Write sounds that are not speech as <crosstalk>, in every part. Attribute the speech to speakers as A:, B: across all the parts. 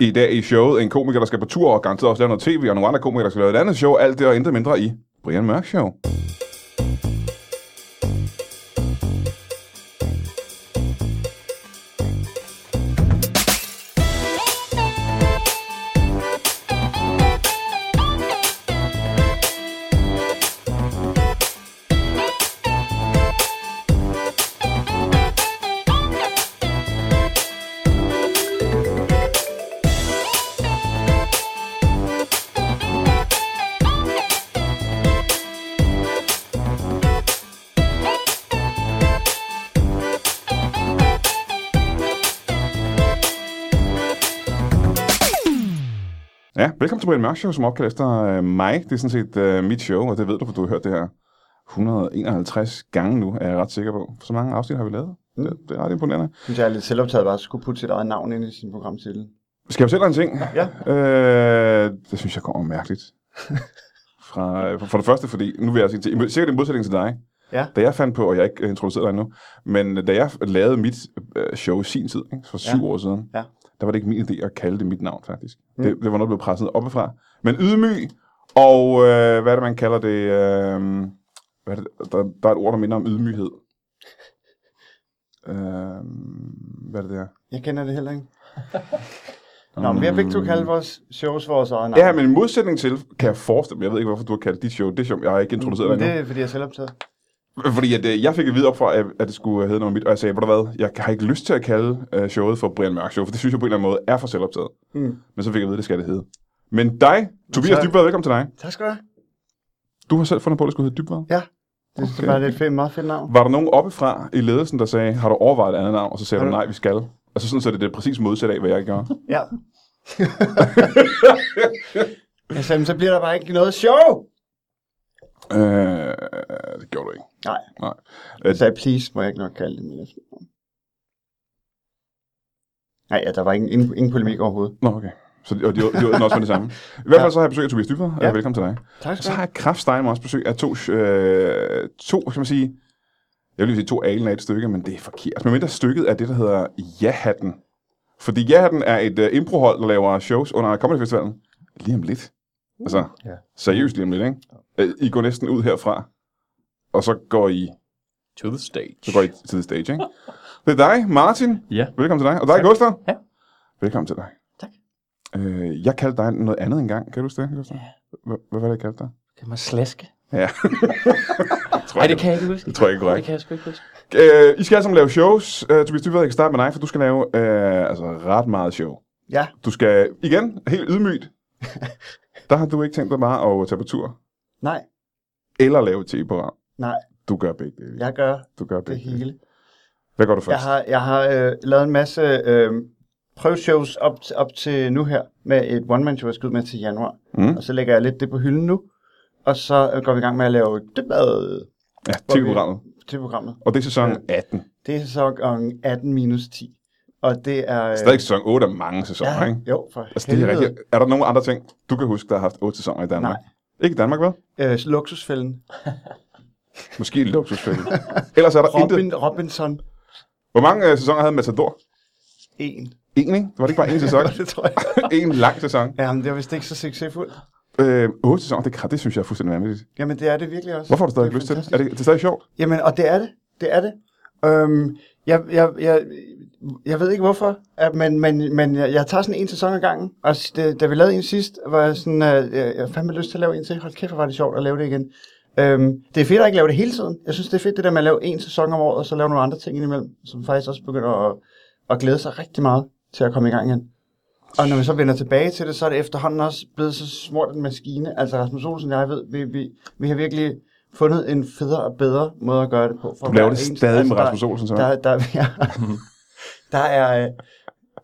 A: i dag i showet. En komiker, der skal på tur og garanteret også lave noget tv, og nogle andre komikere, der skal lave et andet show. Alt det og intet mindre i Brian Mørk Show. Ja, velkommen til Brian Mørk Show, som opkaldt efter øh, mig. Det er sådan set øh, mit show, og det ved du, for du har hørt det her 151 gange nu, er jeg ret sikker på. Så mange afsnit har vi lavet. Det, det er ret imponerende.
B: Jeg synes, jeg er lidt selvoptaget bare at skulle putte sit eget navn ind i sin programtitel.
A: Skal jeg fortælle dig en ting?
B: Ja.
A: Øh, det synes jeg kommer
B: <laughs>
A: mærkeligt. Fra, øh, for, for det første, fordi nu vil jeg sige til, sikkert i modsætning til dig,
B: Ja.
A: da jeg fandt på, og jeg har ikke øh, introduceret dig endnu, men da jeg lavede mit øh, show i sin tid, ikke, for syv
B: Ja.
A: år siden,
B: Ja.
A: der var det ikke min idé at kalde det mit navn, faktisk.
B: Mm.
A: Det, det var noget, der blev presset oppefra. Men ydmyg, og øh, hvad er det, man kalder det? Øh, hvad er det der, der er et ord, der minder om ydmyghed. Øh, hvad er det der?
B: Jeg kender det heller <laughs> ikke. Nå, men vi har begge to kaldt vores shows vores eget navn.
A: Ja, men i modsætning til, kan jeg forestille mig, jeg ved ikke, hvorfor du har kaldt dit show, det show, jeg har ikke introduceret
B: Men
A: dig
B: det
A: endnu.
B: er, fordi jeg er selvoptaget.
A: Fordi at, øh, jeg fik at vide op fra, at at det skulle hedde noget mit, og jeg sagde, ved du hvad, jeg har ikke lyst til at kalde øh, showet for Brian Mørk Show, for det synes jeg på en eller anden måde er for selvoptaget.
B: Mm.
A: Men så fik jeg at vide, det skal det hedde. Men dig, Tobias
B: tak.
A: Dybvad, velkommen til dig.
B: Tak skal du have.
A: Du har selv fundet på, at det skulle hedde Dybvad.
B: Ja. Det synes jeg bare, det er et fedt, meget fedt navn.
A: Var der nogen oppefra i ledelsen, der sagde, har du overvejet et andet navn? Og så sagde
B: Har
A: du,
B: du-
A: nej, vi skal. Altså sådan, så det er det præcis modsatte af, hvad jeg gør.
B: Ja. <laughs> jeg sagde, men så bliver der bare ikke noget show.
A: øh, det gjorde du ikke.
B: Nej.
A: Nej.
B: Jeg sagde, please, må jeg ikke nok kalde det min efternavn. Nej, ja, der var ingen, ingen, ingen polemik overhovedet.
A: Nå, okay. Så de, og de, de, de også med det samme. I hvert fald
B: Ja.
A: så har jeg besøg af Tobias Dybvad. Ja.
B: Ja.
A: Velkommen til dig.
B: Tak
A: Og
B: skal
A: så
B: du
A: har
B: have.
A: jeg kraftstejmer også besøg af to, øh, to, skal man sige, jeg vil lige sige to alen af et stykke, men det er forkert. Men mindre stykket er det, der hedder Ja-hatten. Fordi Ja-hatten er et øh, improhold, der laver shows under Comedy Festivalen. Lige om lidt. Altså,
B: Ja.
A: seriøst lige om lidt, ikke? Øh, I går næsten ud herfra, og så går I,
C: To the stage.
A: så går I til the stage, ikke? Det er dig, Martin.
C: Ja.
A: Velkommen til dig. Og dig,
C: Tak.
A: Gustav.
C: Ja.
A: Velkommen til dig.
C: Tak.
A: Øh, jeg kaldte dig noget andet engang. Kan du huske det, Gustav? H- Hvad var det, jeg kaldte dig?
C: Kan man slaske?
A: Ja. tror
C: Nej, det kan jeg ikke huske.
A: Det tror jeg ikke er korrekt.
C: Det kan jeg sgu ikke huske.
A: Øh, I skal alle sammen lave shows. Øh, Tobias Dybvad, jeg kan starte med dig, for du skal lave øh, altså ret meget show.
B: Ja,
A: Du skal, igen, helt
B: <laughs>
A: ydmygt. Der har du ikke tænkt dig bare at tage på tur.
B: nej,
A: Eller lave et tv-program.
B: nej.
A: Du gør begge dele.
B: Jeg gør
A: Du gør
B: det
A: begge dele.
B: hele.
A: Hvad gør du først?
B: Jeg har, jeg har øh, lavet en masse øh, prøveshows op, til- op til nu her, med et one-man-show, jeg skal ud med til januar.
A: Mm.
B: Og så lægger jeg lidt det på hylden nu, og så øh, går vi i gang med at lave dybad
A: Ja, tv-programmet.
B: til programmet.
A: Og det er sæson 18.
B: Det er sæson 18 minus 10, og det er... Øh,
A: Stadig sæson 8 er mange sæsoner, ikke?
B: Jo, for
A: Altså, det er,
B: helvede.
A: rigtigt. er der nogen andre ting, du kan huske, der har haft otte sæsoner i Danmark?
B: Nej.
A: Ikke i Danmark, vel?
B: Øh, luksusfælden.
A: Måske i luksusfælde.
B: <laughs>
A: Ellers er der intet.
B: Robin, Robinson
A: Hvor mange øh, sæsoner havde Matador?
B: 1.
A: En, ikke? Var det ikke bare en
B: <laughs>
A: sæson?
B: det tror jeg.
A: en lang sæson.
B: Jamen, det er vist ikke så succesfuldt.
A: Øh, 8 sæsoner, det, er kra- det synes jeg er fuldstændig vanvittigt.
B: Jamen, det er det virkelig også.
A: Hvorfor har du stadig
B: er
A: ikke lyst til det?
B: fantastisk.
A: Er det, det er stadig sjovt?
B: Jamen, og det er det. Det er det. Øhm, jeg, jeg, jeg, jeg ved ikke hvorfor, at, men, men, men jeg, jeg tager sådan en sæson ad gangen. Og s- da, da vi lavede en sidst, var jeg sådan, øh, jeg, jeg fandme lyst til at lave en til. Hold kæft, hvor var det sjovt at lave det igen. Øhm, det er fedt at ikke lave det hele tiden. Jeg synes, det er fedt det der med at lave en sæson om året, og så lave nogle andre ting indimellem, som faktisk også begynder at, at glæde sig rigtig meget til at komme i gang igen. Og når man så vender tilbage til det, så er det efterhånden også blevet så smurt en maskine. Altså Rasmus Olsen og jeg ved, vi, vi, vi har virkelig fundet en federe og bedre måde at gøre det på. For
A: Du laver
B: hver
A: det
B: eneste-
A: stadig med
B: der-
A: Rasmus Olsen, simpelthen.
B: der, der,
A: <laughs>
B: ja. der er, øh,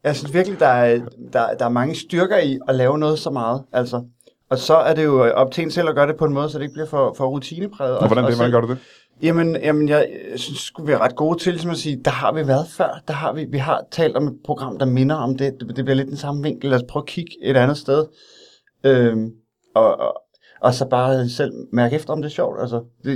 B: jeg synes virkelig, der er, der, der er mange styrker i at lave noget så meget, altså. Og så er det jo øh, op til en selv at gøre det på en måde, så det ikke bliver for, for rutinepræget.
A: Og hvordan,
B: og
A: det, hvordan gør
B: selv-
A: du det?
B: Jamen, jamen jeg, jeg synes, skulle vi er ret gode til ligesom at sige, der har vi været før, der har vi, vi har talt om et program, der minder om det. Det, det bliver lidt den samme vinkel, lad os prøve at kigge et andet sted. Øhm, og, og, og så bare selv mærke efter, om det er sjovt. Altså, det,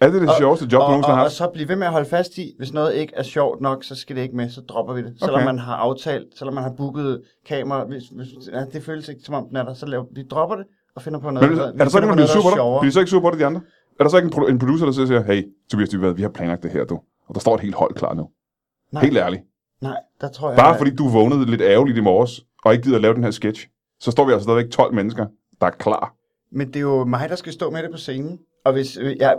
A: Er det det sjoveste job, du
B: og,
A: nogensinde
B: og,
A: har
B: og
A: haft?
B: så blive ved med at holde fast i, hvis noget ikke er sjovt nok, så skal det ikke med, så dropper vi det. Selvom
A: Okay.
B: man har aftalt, selvom man har booket kamera, hvis, hvis, ja, det føles ikke som om den er der, så laver, vi dropper det og finder på noget,
A: Men,
B: der,
A: er der så ikke nogen, der bliver sur på dig? Bliver de så ikke sur på dig, de andre? Er der så ikke en, pro- en producer, der sidder og siger, hey, Tobias Dybvad, vi har planlagt det her, du. Og der står et helt hold klar nu.
B: Nej.
A: Helt ærligt.
B: Nej, der tror jeg...
A: Bare fordi du vågnede lidt ærgerligt i morges, og ikke gider at lave den her sketch, så står vi altså stadigvæk 12 mennesker, der er klar.
B: Men det er jo mig, der skal stå med det på scenen. Og hvis, øh, jeg,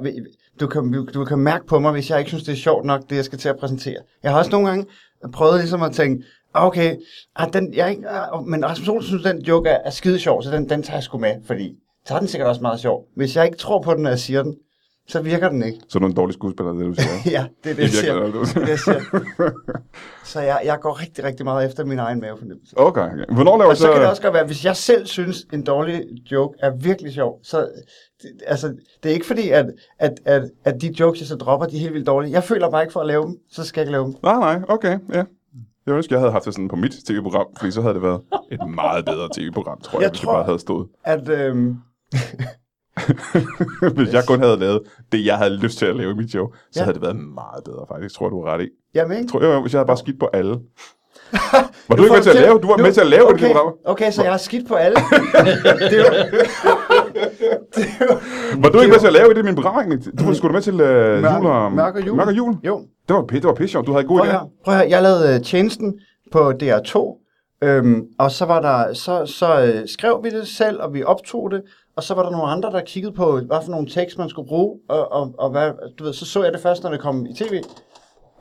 B: du, kan, du, du kan mærke på mig, hvis jeg ikke synes, det er sjovt nok, det jeg skal til at præsentere. Jeg har også nogle gange prøvet ligesom at tænke, ah, okay, ah, den, jeg er ikke, ah, men Rasmus Olsen synes, den joke er, er skide sjov, så den, den tager jeg sgu med, fordi så er den sikkert også meget sjov. Hvis jeg ikke tror på den, når jeg siger den, så virker den ikke. <laughs>
A: Så er du en dårlig skuespiller, det er det du siger.
B: ja, det er det,
A: I
B: jeg siger. Det
A: virkeligheden,
B: er det, jeg siger. Så jeg, jeg går rigtig, rigtig meget efter min egen mavefornemmelse.
A: Okay, okay. Hvornår laver
B: Og så kan det
A: så...
B: også godt være, hvis jeg selv synes, en dårlig joke er virkelig sjov, så det, altså, det er ikke fordi, at, at, at, at de jokes, jeg så dropper, de er helt vildt dårlige. Jeg føler bare ikke for at lave dem, så skal jeg ikke lave dem.
A: Nej, nej, okay, ja. Jeg ønsker, jeg havde haft det sådan på mit tv-program, fordi så havde det været et meget bedre tv-program, tror jeg,
B: Jeg
A: jeg hvis
B: tror-
A: tror... det bare havde stået. <laughs>
B: At, øhm,
A: hvis jeg kun havde lavet det, jeg havde lyst til at lave i mit show, så
B: Ja.
A: ja. havde det været meget bedre, faktisk. Tror jeg, du har ret i.
B: jamen, ikke?
A: Tror jeg, hvis jeg havde bare skidt på
B: <laughs>
A: alle. Var du
B: Nu
A: ikke med
B: får
A: til at
B: selv-
A: lave? Du var
B: nu-
A: med til at lave
B: okay,
A: det program.
B: Okay, så jeg har skidt på
A: <laughs>
B: alle. det er jo, det er jo,
A: Var du ikke
B: Det
A: med til at lave det i min program egentlig? Du var sgu da med til øh, jul og...
B: Mørk og Jul.
A: Mørk og jul.
B: jo,
A: Det var, pisse- det var pisse sjovt. Du havde en god
B: prøv
A: idé.
B: at høre, prøv at høre. Jeg lavede øh, tjenesten på DR2, øhm, og så var der, så, så øh, skrev vi det selv, og vi optog det, og så var der nogle andre, der kiggede på, hvad for nogle tekst, man skulle bruge, og, og, og hvad, du ved, så så jeg det først, når det kom i tv.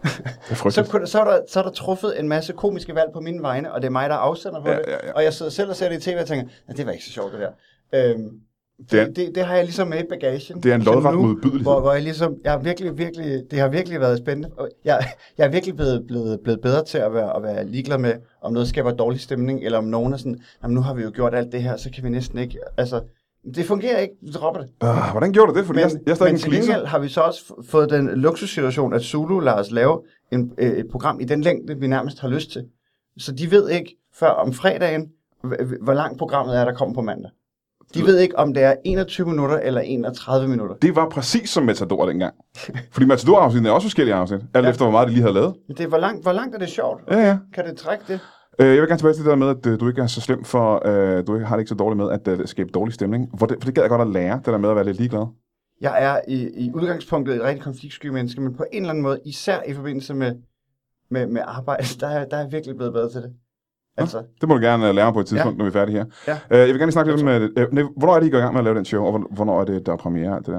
A: Det er
B: Så,
A: frygteligt.
B: kunne, så, er der, så er der truffet en masse komiske valg på mine vegne, og det er mig, der er afsender på
A: Ja,
B: det,
A: ja, ja.
B: og jeg sidder selv og ser det i tv og tænker, ja, det var ikke så sjovt det der. Øhm,
A: Det
B: det,
A: er-
B: det, det, har jeg ligesom med i bagagen.
A: Det er en
B: til
A: lodret
B: nu,
A: modbydelighed.
B: Hvor, hvor jeg ligesom, jeg har virkelig, virkelig, det har virkelig været spændende. Og Jeg, jeg er virkelig blevet, blevet, blevet bedre til at være, at være ligeglad med, om noget skaber dårlig stemning, eller om nogen er sådan, jamen nu har vi jo gjort alt det her, så kan vi næsten ikke, altså, det fungerer ikke, vi dropper det.
A: Øh, hvordan gjorde du det? Fordi jeg, jeg er stadig
B: men
A: en
B: til
A: pleaser.
B: gengæld har vi så også f- fået den luksussituation, at Zulu lader os lave en, øh, et program i den længde, vi nærmest har lyst til. Så de ved ikke før om fredagen, h- h- hvor langt programmet er, der kommer på mandag. De ved ikke, om det er 21 minutter eller 31 minutter.
A: Det var præcis som Matador <laughs> dengang. Fordi Matador-afsnittet er også forskellige afsnit, alt
B: Ja.
A: efter hvor meget de lige havde lavet.
B: Men Det er, hvor, langt, hvor langt er det sjovt?
A: Ja, ja.
B: Kan det trække det?
A: Øh, jeg vil gerne tilbage til det der med, at øh, du ikke er så slem for, øh, du ikke- har det ikke så dårligt med at øh, skabe dårlig stemning. For det, for det gad jeg godt at lære, det der med at være lidt ligeglad.
B: Jeg er i, i udgangspunktet et rigtig konfliktsky menneske, men på en eller anden måde, især i forbindelse med, med, med arbejde, <laughs> der er, der er jeg virkelig blevet bedre til det. Altså,
A: Det må du gerne øh, lære på et tidspunkt, ja. når vi er færdige her.
B: Ja.
A: Øh, jeg vil gerne lige snakke lidt om, øh, øh, nej, hvornår er det, I går i gang med at lave den show, og hvorn- hvornår er det, der er premiere og alt det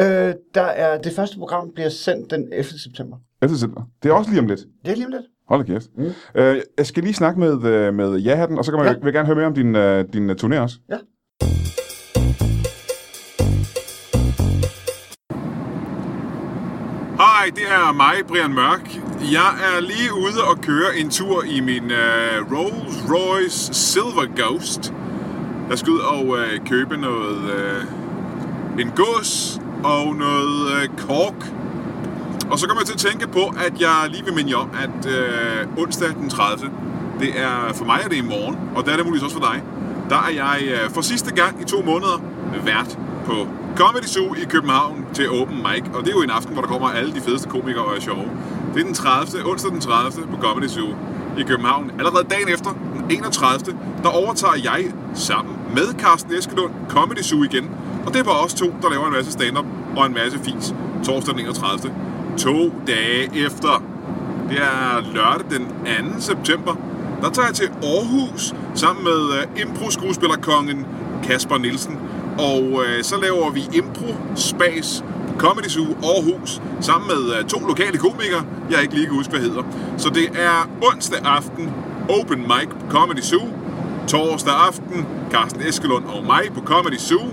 A: der?
B: øh, der er, det første program bliver sendt den 11. september.
A: Efter september. Det er også lige om lidt.
B: Det er lige om lidt.
A: Hold da kæft.
B: Mm.
A: Mm. Øh, jeg skal lige snakke med, øh, med ja-hatten, og så kan man,
B: Ja.
A: ja. vil jeg gerne høre mere om din, øh, din øh, turné også.
B: Ja.
A: Hej, det er mig, Brian Mørk. Jeg er lige ude og køre en tur i min øh, Rolls Royce Silver Ghost. Jeg skal ud og øh, købe noget øh, en gås og noget øh, kork. Og så kommer jeg til at tænke på, at jeg lige vil minde jer om, at øh, onsdag den 30. Det er, for mig er det i morgen, og der er det muligvis også for dig. Der er jeg øh, for sidste gang i to måneder vært på Comedy Zoo i København til Open Mic. Og det er jo en aften, hvor der kommer alle de fedeste komikere og er sjove. Det er den 30. onsdag den 30. på Comedy Zoo i København. Allerede dagen efter, den 31. der overtager jeg sammen med Carsten Eskelund Comedy Zoo igen. Og det er bare os to, der laver en masse stand-up og en masse fis torsdag den 31. To dage efter. Det er lørdag den 2. september. Der tager jeg til Aarhus sammen med uh, impro-skuespillerkongen Kasper Nielsen. Og uh, så laver vi Impro Space Comedy Zoo Aarhus sammen med uh, to lokale komikere, jeg ikke lige kan huske, hvad hedder. Så det er onsdag aften, Open Mic på Comedy Zoo. Torsdag aften, Carsten Eskelund og mig på Comedy Zoo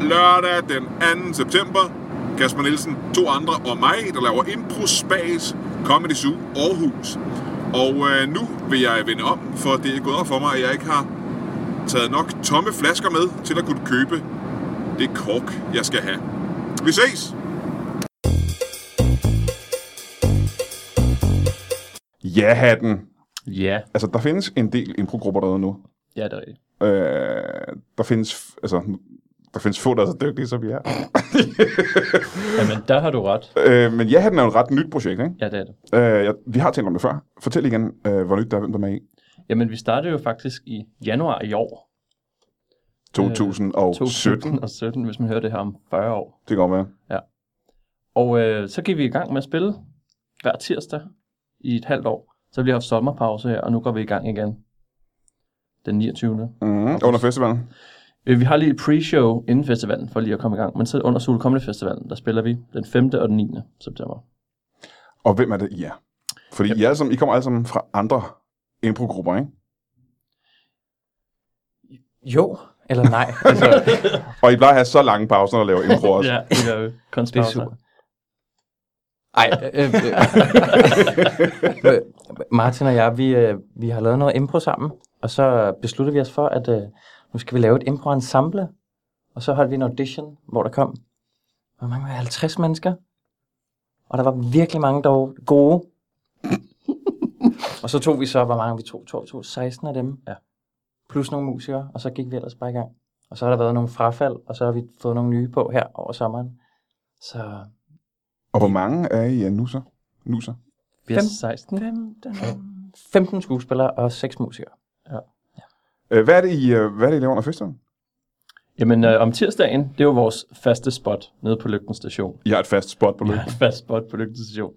A: lørdag den 2. september. Kasper Nielsen, to andre og mig, der laver Impro Space Comedy Zoo Aarhus. Og øh, nu vil jeg vende om, for det er gået op for mig, at jeg ikke har taget nok tomme flasker med til at kunne købe det kork, jeg skal have. Vi ses! Ja, hatten.
C: Ja,
A: Altså, der findes en del improgrupper derude nu.
C: ja det er rigtigt.
A: Øh, der findes, f- altså, Der findes få, der er så dygtige som jeg.
C: Jamen, der har du ret.
A: Øh, men ja, den er jo et ret nyt projekt, ikke?
C: Ja, det er det.
A: Øh, jeg, vi har talt om det før. Fortæl igen, øh, hvor nyt der er, hvem der er med i.
C: Jamen, vi startede jo faktisk i januar i år.
A: 2017.
C: 2017, hvis man hører det her om 40 år.
A: Det kan godt være.
C: Og øh, så gik vi i gang med at spille hver tirsdag i et halvt år. Så har vi har haft sommerpause her, og nu går vi i gang igen. Den 29.
A: Mm-hmm. Under festivalen.
C: Øh, Vi har lige et pre-show inden festivalen, for lige at komme i gang. Men så under Sule Comedy Festivalen, der spiller vi den 5. og den 9. september.
A: Og hvem er det, I er? Fordi I, er alle sammen, I kommer alle sammen fra andre improgrupper, ikke?
D: Jo, eller nej. Altså,
A: Og I plejer at have så lange pauser, når I laver impro også.
C: Ja, det gør vi.
D: det er
C: Kunstpauser.
D: super. Ej, øh, øh, <laughs> øh, Martin og jeg, vi, øh, vi har lavet noget impro sammen, og så besluttede vi os for, at øh, nu skal vi lave et impro-ensemble, og så holdt vi en audition, hvor der kom hvor mange var det, 50 mennesker, og der var virkelig mange, der var gode. og så tog vi så, hvor mange vi tog, tog, tog 16 af dem,
C: Ja.
D: plus nogle musikere, og så gik vi ellers bare i gang. Og så har der været nogle frafald, og så har vi fået nogle nye på her over sommeren. Så
A: Og hvor mange er I er nuser? Nuser?
C: Vi er
D: Fem.
C: 16.
D: 15, 15 skuespillere og 6 musikere.
A: Øh, Hvad er, det, I, øh, hvad er det, I laver under festivalen?
C: Jamen, øh, om tirsdagen, det er jo vores faste spot nede på Lygten Station.
A: I har et fast spot på
C: Vi
A: løbet.
C: har et <laughs> fast spot på Lygten Station,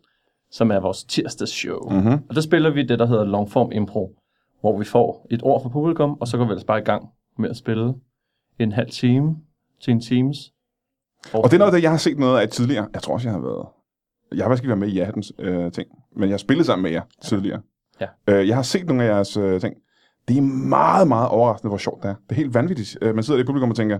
C: som er vores tirsdagsshow. Mm.
A: Mm-hmm.
C: Og der spiller vi det, der hedder Longform Impro, hvor vi får et ord fra publikum, og så går vi ellers bare i gang med at spille en halv time til en times.
A: Og det er noget af det, jeg har set noget af tidligere. Jeg tror også, jeg har været... Jeg har faktisk ikke været med i jeres øh, ting, men jeg har spillet sammen med jer tidligere.
C: Ja.
A: Øh, jeg har set nogle af jeres øh, ting. Det er meget, meget overraskende, hvor sjovt det er. Det er helt vanvittigt. Øh, man sidder i publikum og tænker,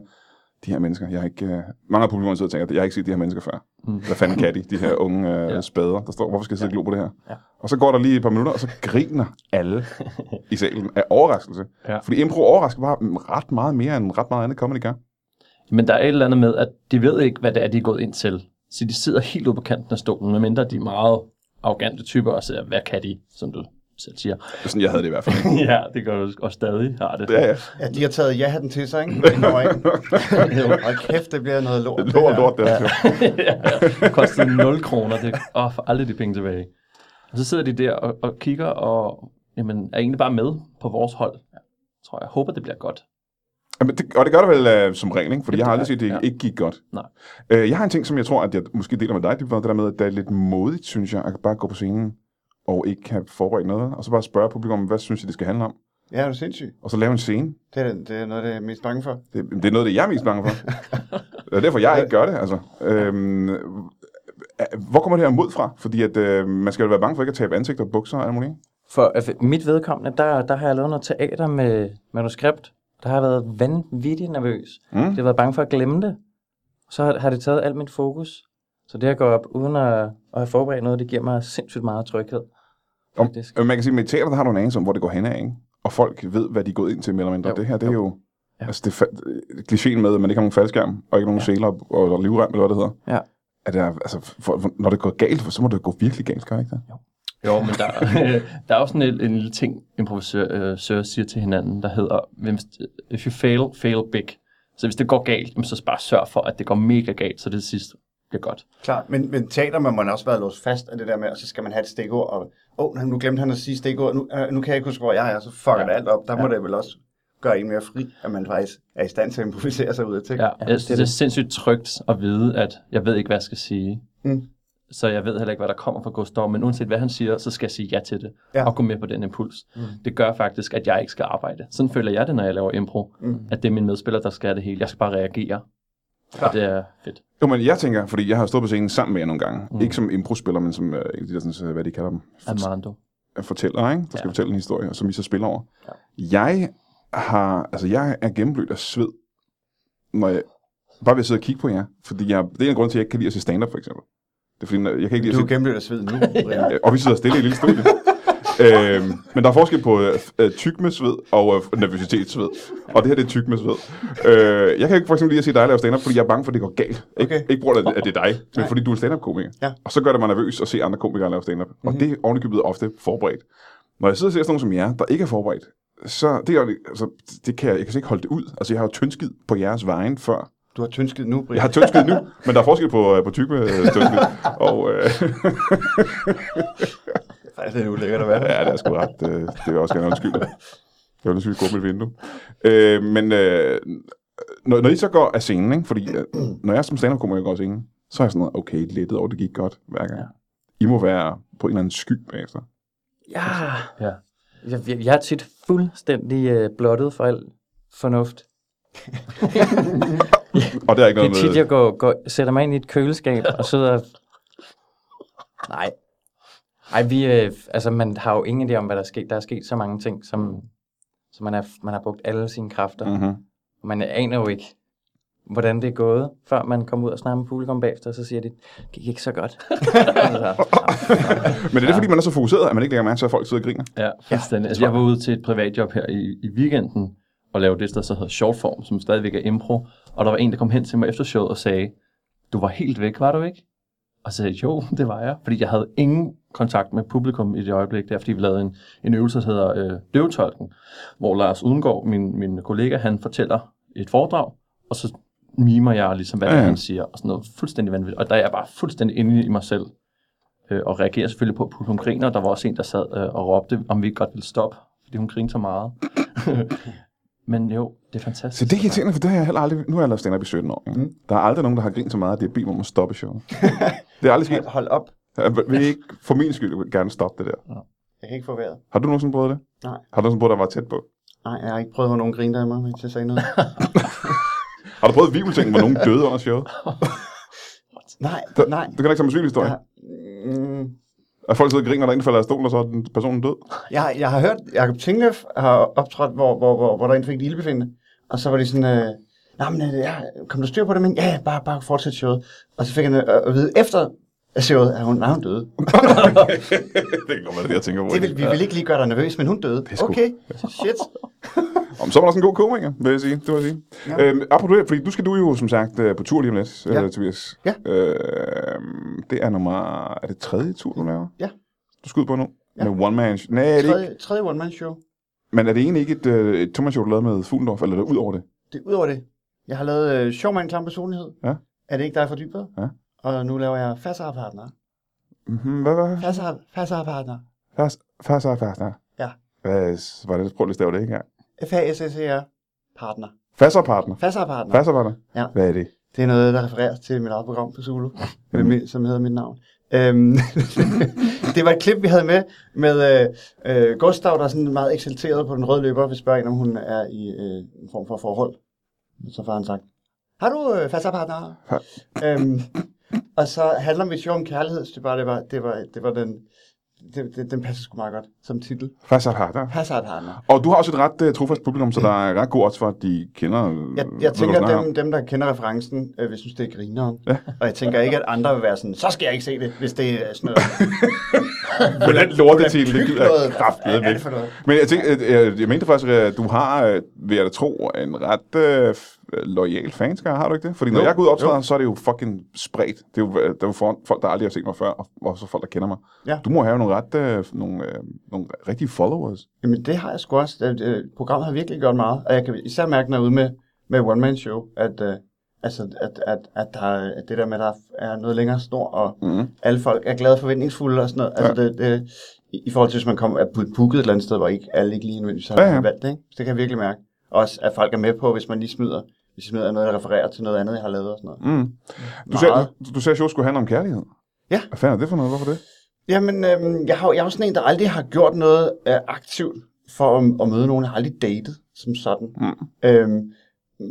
A: de her mennesker, jeg har ikke... Øh, mange af publikum sidder og tænker, jeg har ikke set de her mennesker før. Mm.
C: Mm.
A: Hvad fanden kan de, de
C: <laughs>
A: her unge øh, ja.
C: Ja.
A: spader, der står, hvorfor skal jeg sidde og glo på det her?
D: Ja.
A: Og så går der lige et par minutter, og så griner
C: <laughs>
A: alle i salen af overraskelse.
C: Ja.
A: Fordi impro overrasker bare mm, ret meget mere, end ret meget andet comedy gør.
C: Men der er et eller andet med, at de ved ikke, hvad det er, de er gået ind til. Så de sidder helt ude på kanten af stolen, medmindre de er meget arrogante typer og siger, hvad kan de, som du selv
A: <laughs>
C: siger. <laughs>
A: Sådan, jeg havde det i hvert fald.
C: ja, det gør du og stadig har det.
A: Ja, ja.
B: Ja, de har taget ja-hatten til sig, ikke? Den kommer <laughs> ind. Og kæft, det bliver noget lort. det
A: Lort,
B: her.
A: lort, det er ja.
C: det kostede 0 kroner. Det og for aldrig de penge tilbage. Og så sidder de der og, og kigger og jamen, er egentlig bare med på vores hold. Tror jeg. Håber, det bliver godt.
A: Jamen, det, og det gør det vel øh, som regel, ikke? Fordi jeg har aldrig set, at det
C: ja.
A: ikke gik godt.
C: Nej.
A: Øh, jeg har en ting, som jeg tror, at jeg måske deler med dig, det var det der med, at det er lidt modigt, synes jeg, at bare gå på scenen og ikke have forberedt noget, og så bare spørge publikum, hvad synes I, det skal handle om,
B: Ja, er du sindssyg?
A: og så lave en scene.
B: Det er, det er noget, det er mest bange for.
A: Det, det er noget, det jeg er mest bange for. det er derfor, jeg ikke gør det, altså. Øhm, øh, hvor kommer det her mod fra? Fordi at, øh, man skal jo være bange for ikke at tabe ansigt og bukser og alt muligt. ikke?
D: For øh, for mit vedkommende, der, der har jeg lavet noget teater med manuskript. Der har jeg været vanvittigt nervøs.
A: Mm.
D: Jeg har været bange for at glemme det. Så har, har det taget alt mit fokus. Så det at gå op uden at, at have forberedt noget, det giver mig sindssygt meget tryghed.
A: Om,
D: Faktisk.
A: øh, man kan sige, at med teater, der har du en anelse om, hvor det går hen af, ikke? Og folk ved, hvad de er gået ind til, mere eller mindre. Jo.
D: Jo,
A: Det her, det er jo... Ja.
D: Ja.
A: Altså, det er fa- øh, klichéen med, at man ikke har nogen faldskærm, og ikke nogen ja. seler og, og livrem, eller hvad det hedder.
D: Ja.
A: At der, altså, for, for, når det går galt, så må det gå virkelig galt, gør det ikke det?
C: Jo, men der, der er også sådan en, en lille ting, improvisører øh, siger til hinanden, der hedder, hvis- if you fail, fail big. Så hvis det går galt, jamen, så bare sørg for, at det går mega galt, så det sidste bliver godt.
B: Klart, men, men teater, man må også være låst fast af det der med, og så skal man have et stikord, og åh, oh, nu glemte han at sige stikord, nu, øh, nu kan jeg ikke huske, hvor jeg er, så fucker ja.
C: Ja.
B: det alt op. Der ja. må det vel også gøre en mere fri, at man faktisk er i stand til at improvisere sig ud af ting.
C: Ja,
D: det er
C: jeg synes, det er
D: det.
C: sindssygt trygt at vide, at jeg ved ikke, hvad jeg skal sige.
B: Mm.
C: Så jeg ved heller ikke, hvad der kommer fra Gustav, men uanset hvad han siger, så skal jeg sige ja til det
B: Ja.
C: ja. og gå med på den impuls. Mm. Det gør faktisk, at jeg ikke skal arbejde. Sådan føler jeg det, når jeg laver impro.
B: Mm.
C: Mm. At det er min medspiller, der skal det hele. Jeg skal bare reagere.
B: Klart.
C: Og det er fedt.
A: Jo, men jeg tænker, fordi jeg har stået på scenen sammen med jer nogle gange. Mm. Ikke som improspiller, men som, øh, en af de der, sådan, øh, hvad de kalder dem,
C: Armando.
A: fortæller, ikke? der skal ja.
C: Ja.
A: fortælle en historie, som I så spiller over. Ja. Jeg har, altså jeg er gennemblødt af sved, når jeg bare ved at sidde og kigge på jer. Fordi jeg, det er en grund til, at jeg ikke kan lide at se stand-up, for eksempel. Det er fordi, når- jeg kan ikke lide
B: Du er
A: at se...
B: gennemløbet af sved <laughs> nu, Brian.
A: Øh, Og vi sidder stille i et lille studie. øhm, men der er forskel på øh, f- øh, tyk med sved og øh, nervøsitetsved. Og det her, det er tyk med sved. Øh, jeg kan ikke for eksempel lige at se dig lave stand-up, fordi jeg er bange for, at det går galt. Ikke,
B: Okay.
A: ikke på grund af, at det er dig, men
B: Nej.
A: fordi du er en stand-up-komiker.
B: Ja. Mhm.
A: Og så gør det mig nervøs at se andre komikere lave stand-up. Mm-hmm. Og det er ovenikøbet ofte forberedt. Når jeg sidder og ser sådan nogen som jer, der ikke er forberedt, så det, er, jo- altså, det kan jeg, jeg kan slet ikke holde det ud. Altså, jeg har jo tyndskid på jeres vejen før.
B: Du har tyndsket nu, Brian.
A: Jeg har tyndskid
B: <laughs>
A: nu, men der er forskel på, øh, på tykke øh, tyndskid. Og øh,
B: Ej, det er ulækkert at være her.
A: ja, det er sgu ret. Øh, det vil jeg også gerne undskylde. Jeg vil undskylde gå mit vindue. Øh, men øh, når, når I så går af scenen, ikke? fordi øh, når jeg som stand-up kommer, jeg går af scenen, så er jeg sådan noget, okay, lettet over, det gik godt hver gang. I må være på en eller anden sky bagefter.
D: Ja.
C: Ja.
D: Jeg, jeg, jeg er tit fuldstændig øh, blottet for al fornuft.
A: Og det er ikke
D: Det er
A: noget
D: tit,
A: med...
D: jeg går, går, sætter mig ind i et køleskab og sidder... og- Nej. Ej, vi, øh, altså, man har jo ingen idé om, hvad der er sket. Der er sket så mange ting, som, som man, er, man har brugt alle sine kræfter. Mm.
A: Mm-hmm.
D: Man aner jo ikke, hvordan det er gået, før man kommer ud og snakker med publikum bagefter, og så siger de, det gik ikke så godt. altså,
A: Men det er det, fordi man er så fokuseret, at man ikke lægger mærke til, at folk sidder og griner.
C: Ja, fuldstændig. altså, jeg var ude til et privatjob her i, i weekenden og lavede det, der så hedder shortform, som stadigvæk er impro. Og der var en, der kom hen til mig efter showet og sagde, du var helt væk, var du ikke? Og så sagde jeg, jo, <laughs> det var jeg. Fordi jeg havde ingen kontakt med publikum i det øjeblik der, fordi vi lavede en, en øvelse, der hedder øh, døvetolken, hvor Lars Udengård, min, min kollega, han fortæller et foredrag, og så mimer jeg ligesom, hvad det er,
A: Ja, ja.
C: han siger, og sådan noget fuldstændig vanvittigt. Og der er jeg bare fuldstændig inde i mig selv, øh, og reagerer selvfølgelig på, at publikum griner. Der var også en, der sad øh, og råbte, om vi ikke godt ville stoppe, fordi hun grinte så meget. <laughs> Men jo, det er
A: Så
C: fantastisk.
A: det er irriterende, for det har jeg heller aldrig... Nu har jeg lavet stand-up i 17 år. Mm. Der er aldrig nogen, der har grint så meget, at det er bedt mig om at stoppe <laughs> showet. det er aldrig sket.
B: Hold op.
A: Jeg vil ikke for min skyld gerne stoppe det der.
B: Jeg kan ikke få vejret.
A: Har du nogensinde prøvet det?
B: Nej.
A: Har du nogensinde prøvet, at der var tæt på?
B: Nej, jeg har ikke prøvet, hvor nogen griner af mig, mens jeg sagde <laughs> noget.
A: Har du prøvet vibelting, hvor nogen døde under showet?
B: Nej,
A: Du,
B: nej.
A: du kan da ikke som en syg historie.
B: Jeg, har- mm,
A: At folk sidder og griner, og der er en, der falder af stolen, og så er den personen
B: <laughs>
A: død.
B: jeg, har- jeg har hørt, Jacob Tinglef har optrådt, hvor, hvor, hvor, hvor der en fik et ildbefindende. Og så var de sådan, øh, nej, men øh, ja, kom du styr på det, men ja, ja, bare, bare fortsæt showet. Og så fik han øh, at vide efter at showet, at hun, nej, hun døde.
A: det kan godt være det, jeg tænker på.
B: Det vil, vi vil ikke lige gøre dig nervøs, men hun døde.
A: Pisse god.
B: Okay, shit.
A: Om, så var der også en god komiker, vil jeg sige. Det vil jeg sige. Ja. Øhm, apropos det, fordi du skal du jo som sagt øh, på tur lige om lidt, ja.
B: Ja.
A: øh, Tobias.
B: Ja.
A: Øh, det er nummer... Er det tredje tur, du laver?
B: Ja.
A: Du skal ud på nu?
B: Ja.
A: Med One Man... Nej, <laughs> er det ikke.
B: Tredje, tredje one-man-show.
A: Men er det egentlig ikke et, øh, et Thomas show, du lavede med Fuglendorf, eller er det ud over det?
B: Det er ud over det. Jeg har lavet øh, Sjov mand, klam personlighed.
A: Ja.
B: Er det ikke dig fordybet?
A: Ja.
B: Og nu laver jeg Fassar Partner.
A: Mhm, Hvad var det?
B: Fassar, Fassar Partner.
A: Fast, fast, fast, fast.
B: Ja.
A: Hvad var det? Prøv lige at stave det ikke engang.
B: f a s s e r Partner.
A: Fasserpartner.
B: Fassar Partner.
A: Fasser var det?
B: Ja.
A: Hvad er det?
B: Det er noget, der refererer til mit eget program på Zulu, med, mi- som hedder Mit Navn. Øhm, <laughs> det var et klip, vi havde med, med øh, øh, Gustav, der er sådan meget eksalteret på den røde løber, hvis spørger en, om hun er i øh, en form for forhold. Så får han sagt, har du øh, fastapartner? øhm, og så handler mit show om kærlighed, så det, bare, det, var, det, var, det var den, det, det, den passer sgu meget godt som titel.
A: Fasserpartner.
B: Fastapartner.
A: Og du har også et ret uh, trofast publikum, så der er ret god odds for, at de kender... øh,
B: Mm. Jeg,
A: hvad
B: jeg
A: du
B: tænker,
A: snakker om.
B: dem, dem, der kender referencen, øh, vil synes, det er grineren. Ja. Og jeg tænker ikke, at andre vil være sådan, så skal jeg ikke se det, hvis det er sådan noget.
A: Men den <laughs> lortetitel, det
B: pyg
A: gider
B: noget,
A: jeg
B: hvad
A: kraftedeme
B: fanden er det
A: ikke.
B: for noget?
A: Men jeg, tænker, øh, jeg, jeg mente faktisk, at du har, øh, vil jeg da tro, en ret øh, f- lojal fanskare, har du ikke det? Fordi når
B: Jo,
A: jeg går ud og optræder,
B: jo.
A: så er det jo fucking spredt. Det er jo, øh, det er jo for, folk, der aldrig har set mig før, og også folk, der kender mig.
B: Ja.
A: Du må have nogle ret, øh, nogle, øh, nogle rigtige followers.
B: Jamen, det har jeg sgu også. Det, det, programmet har virkelig gjort meget, og jeg kan især mærke, når jeg er ude med, med One Man Show, at, øh, altså, at, at, at, der, er- at det der med, at der er noget længere snor, og
A: Mhm.
B: mm. alle folk er glade og forventningsfulde og sådan noget. Altså, det, det, i, I forhold til, hvis man kommer, er bu- booket et eller andet sted, hvor ikke alle ikke lige nødvendigvis har
A: Ja,
B: ja,
A: ja.
B: ja. valgt det, ikke? Så det kan jeg virkelig mærke. Også, at folk er med på, hvis man lige smider, hvis jeg smider noget, der refererer til noget andet, jeg har lavet og sådan noget.
A: Mm. Du,
B: Meget.
A: sagde, du, du sagde, at showet skulle handle om kærlighed.
B: Ja.
A: Hvad fanden er det for noget? Hvorfor det?
B: Jamen, øhm, jeg, har, jo- jeg er jo sådan en, der aldrig har gjort noget øh, aktivt for at, at møde nogen. Jeg har aldrig datet som sådan.
A: Mm.
B: Øhm, mm,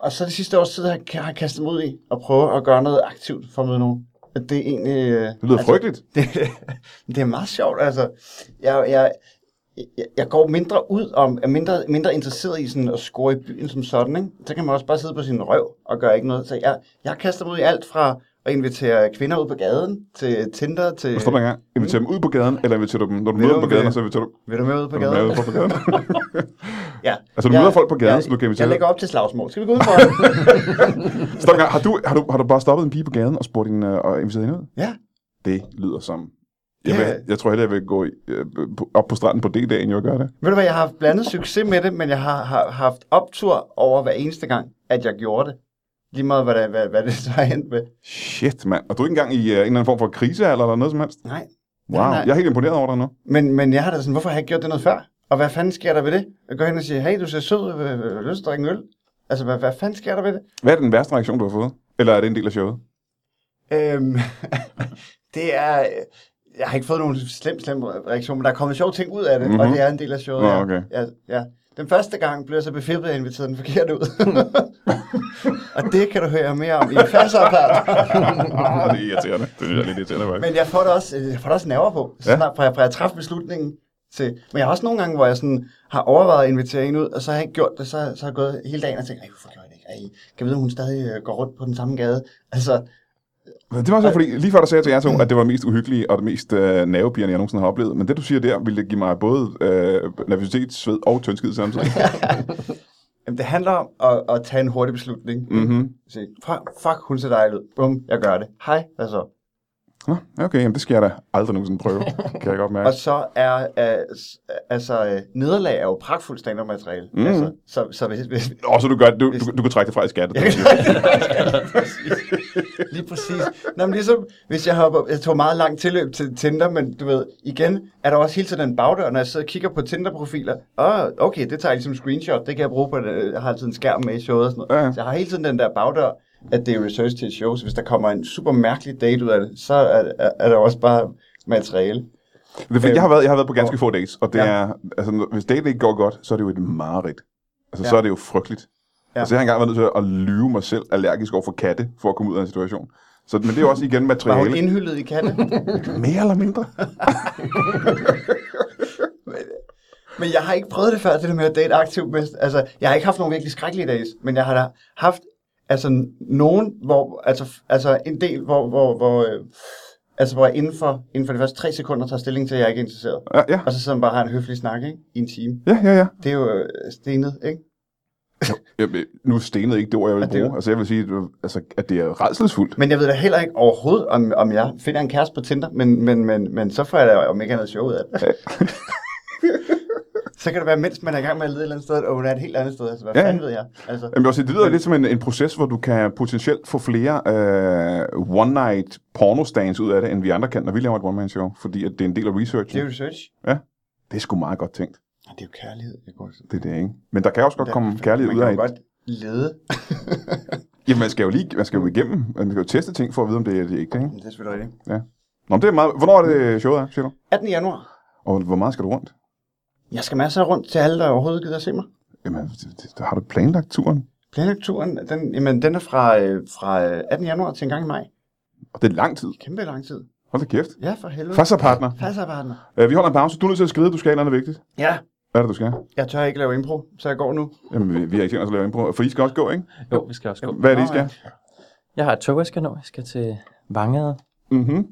B: og så det sidste års tid har jeg ka- har jeg kastet mig ud i at prøve at gøre noget aktivt for at møde nogen. Og Det er egentlig... Øh, det
A: Det lyder altså, frygteligt.
B: Det, <laughs> det er meget sjovt, altså. Jeg, jeg, jeg, jeg går mindre ud om, er mindre, mindre interesseret i sådan at score i byen som sådan, ikke? Så kan man også bare sidde på sin røv og gøre ikke noget. Så jeg, jeg kaster mig ud i alt fra at invitere kvinder ud på gaden, til Tinder, til...
A: Men stop en gang. Inviterer dem ud på gaden, eller inviterer du dem, når du møder dem på
B: du
A: gaden,
B: med-
A: og så inviterer du
B: Vil du med ud på
A: når du møder
B: gaden?
A: dem på
B: <laughs>
A: gaden?
B: Ja.
A: Altså, du møder folk på gaden, så du kan invitere
B: Jeg
A: dem.
B: lægger op til slagsmål. Skal vi gå ud
A: <laughs>
B: for det?
A: Stop en gang. Har du, har, du, har du bare stoppet en pige på gaden og spurgt hende øh, og inviteret hende ud?
B: ja.
A: Det lyder som... Jeg,
B: Ja.
A: vil, jeg tror hellere, jeg vil gå i, øh, på- op på stranden på D-dagen, jeg gør det.
B: Ved du hvad, jeg har haft blandet succes med det, men jeg har, har haft optur over hver eneste gang, at jeg gjorde det. Lige meget, hvad, der, hvad, hvad det så er endt med.
A: Shit, mand. Og du er ikke engang i uh, en eller anden form for krise eller, eller noget som helst?
B: Nej.
A: Wow,
B: Nej, nej.
A: jeg er helt imponeret over dig nu.
B: Men, men jeg har da sådan, hvorfor har jeg ikke gjort det noget før? Og hvad fanden sker der ved det? Jeg går hen og siger, hey, du ser sød, ud. Øh, øh, lyst til at drikke en øl? Altså, hvad, hvad fanden sker der ved det?
A: Hvad er den værste reaktion, du har fået? Eller er det en del af
B: <laughs>
A: showet? <laughs>
B: Øhm, <laughs> det er... øh, Jeg har ikke fået nogen slem, slem reaktion, men der er kommet sjove ting ud af det, mm-hmm. og
A: Mhm.
B: det er en del af showet.
A: Nå,
B: ja.
A: okay.
B: ja, ja. Den første gang blev jeg så befippet, at jeg inviterede den forkerte
A: <laughs>
B: ud. og det kan du høre mere om i
A: <laughs>
B: færdsopart.
A: Ah, det er irriterende. Det synes jeg er lidt irriterende, faktisk.
B: Men jeg får det også, øh, jeg får det også nerver på,
A: Ja.
B: ja. snart, fra, jeg, fra jeg træffer beslutningen til. Men jeg har også nogle gange, hvor jeg sådan har overvejet at invitere en ud, og så har jeg ikke gjort det, så, så har jeg gået hele dagen og tænkt, ej, hvorfor gjorde jeg det ikke? Ej, kan jeg vide, om hun stadig øh, går rundt på den samme gade? Altså,
A: Men Det var så, fordi lige før der sagde jeg til jer
B: Mm.
A: to, at det var det mest uhyggelige og det mest øh, nervepirrende, jeg nogensinde har oplevet. Men det, du siger der, ville give mig både øh, nervøsitet, sved og tyndskid samtidig.
B: jamen, det handler om at, at tage en hurtig beslutning.
A: mm-hmm.
B: Sige, fuck, fuck, hun ser dejlig ud. Bum, jeg gør det. Hej, hvad så?
A: Nå, okay, jamen, det skal jeg da aldrig nogensinde
B: <laughs>
A: prøve, kan jeg godt mærke.
B: Og så er øh, s- altså, øh, nederlag er jo pragtfuldt stand-up-materiale.
A: Mhm.
B: Altså, så, så hvis, hvis,
A: Nå, så du, gør, du, du, du kan trække det fra i
B: <laughs>
A: skat.
B: Lige præcis. Nå, men ligesom, hvis jeg hopper, jeg tog meget langt tilløb til Tinder, men du ved, igen, er der også hele tiden en bagdør, når jeg sidder og kigger på Tinder-profiler. Åh, okay, det tager jeg ligesom screenshot, det kan jeg bruge på, det. jeg har altid en skærm med i showet og sådan noget.
A: Ja.
B: Ja. Så jeg har hele tiden den der bagdør, at det er research til et show, så hvis der kommer en super mærkelig date ud af det, så er, er, er der også bare materiale.
A: Det er, fordi, jeg, har været, jeg har været på ganske få dates, og det
B: Ja.
A: er, altså, hvis daten ikke går godt, så er det jo et mareridt. Altså, ja.
B: Ja.
A: så er det jo frygteligt. Ja.
B: Ja.
A: Altså, jeg har engang været nødt til at lyve mig selv allergisk over for katte, for at komme ud af en situation. Så, men det er jo også igen
B: Var hun
A: materiale.
B: indhyllet i katte?
A: Mere eller
B: <laughs>
A: mindre?
B: Men jeg har ikke prøvet det før, det der med at date aktivt. Med, altså, jeg har ikke haft nogen virkelig skrækkelige days, men jeg har da haft altså, nogen, hvor, altså, f- altså en del, hvor, hvor, hvor, øh, altså, hvor jeg inden for, inden for de første tre sekunder tager stilling til, at jeg ikke er interesseret.
A: Ja, ja,
B: Og så sidder man bare og har en høflig snak ikke? i en time.
A: ja, ja. ja.
B: Det er jo øh, stenet, ikke?
A: Jamen, øh, nu stenede ikke det ord, jeg vil
B: Og det er
A: bruge. Altså, jeg vil sige, at, du- altså, at det er redselsfuldt.
B: Men jeg ved da heller ikke overhovedet, om, om jeg finder en kæreste på Tinder, men, men, men, men så får jeg da, om ikke andet sjov ud af det. så kan det være, mens man er i gang med at lede et eller andet sted, og hun er et helt andet sted. Altså, hvad
A: Ja, ja.
B: ja. fanden ved jeg? Altså,
A: Jamen, også, det lyder lidt som en, en proces, hvor du kan potentielt få flere øh, one-night porno-stands ud af det, end vi andre kan, når vi laver et one-man-show. Fordi at det er en del af
B: det er jo
A: researchen.
B: research.
A: Det er sgu meget godt tænkt,
B: Ja, Det er jo kærlighed, jeg går
A: det er det, ikke? Men der kan også godt komme kærlighed
B: man
A: ud af det.
B: kan jo godt
A: <laughs>
B: lede.
A: Jamen, man skal jo lige man skal jo igennem. Man skal jo teste ting for at vide, om det er det ikke, ikke?
B: Men det er selvfølgelig rigtigt.
A: Nå, men det er meget... Hvornår er det øh, showet er, siger du?
B: 18. januar.
A: Og hvor meget skal du rundt?
B: Jeg skal masser af rundt til alle, der overhovedet gider at se mig.
A: Jamen, det, det, har du planlagt turen?
B: Planlagturen, den, jamen, den er fra, øh, fra øh, 18. januar til en gang i maj.
A: Og det er lang tid.
B: Kæmpe lang tid.
A: Hold da kæft.
B: Ja, for helvede.
A: Fast partner.
B: Fastarbejder.
A: Øh, vi holder en pause. Du er nødt til at skride, du skal et eller andet vigtigt.
B: Ja,
A: Hvad er det, du skal?
B: jeg tør ikke lave impro, så jeg går nu.
A: Jamen, vi, vi har ikke tænkt os at lave impro. For I skal også gå, ikke?
C: Jo, vi skal også gå.
A: Hvad er det, I
B: Nå,
A: skal?
D: Jeg har et tog, jeg skal nå. Jeg skal til Vangede
A: Mhm.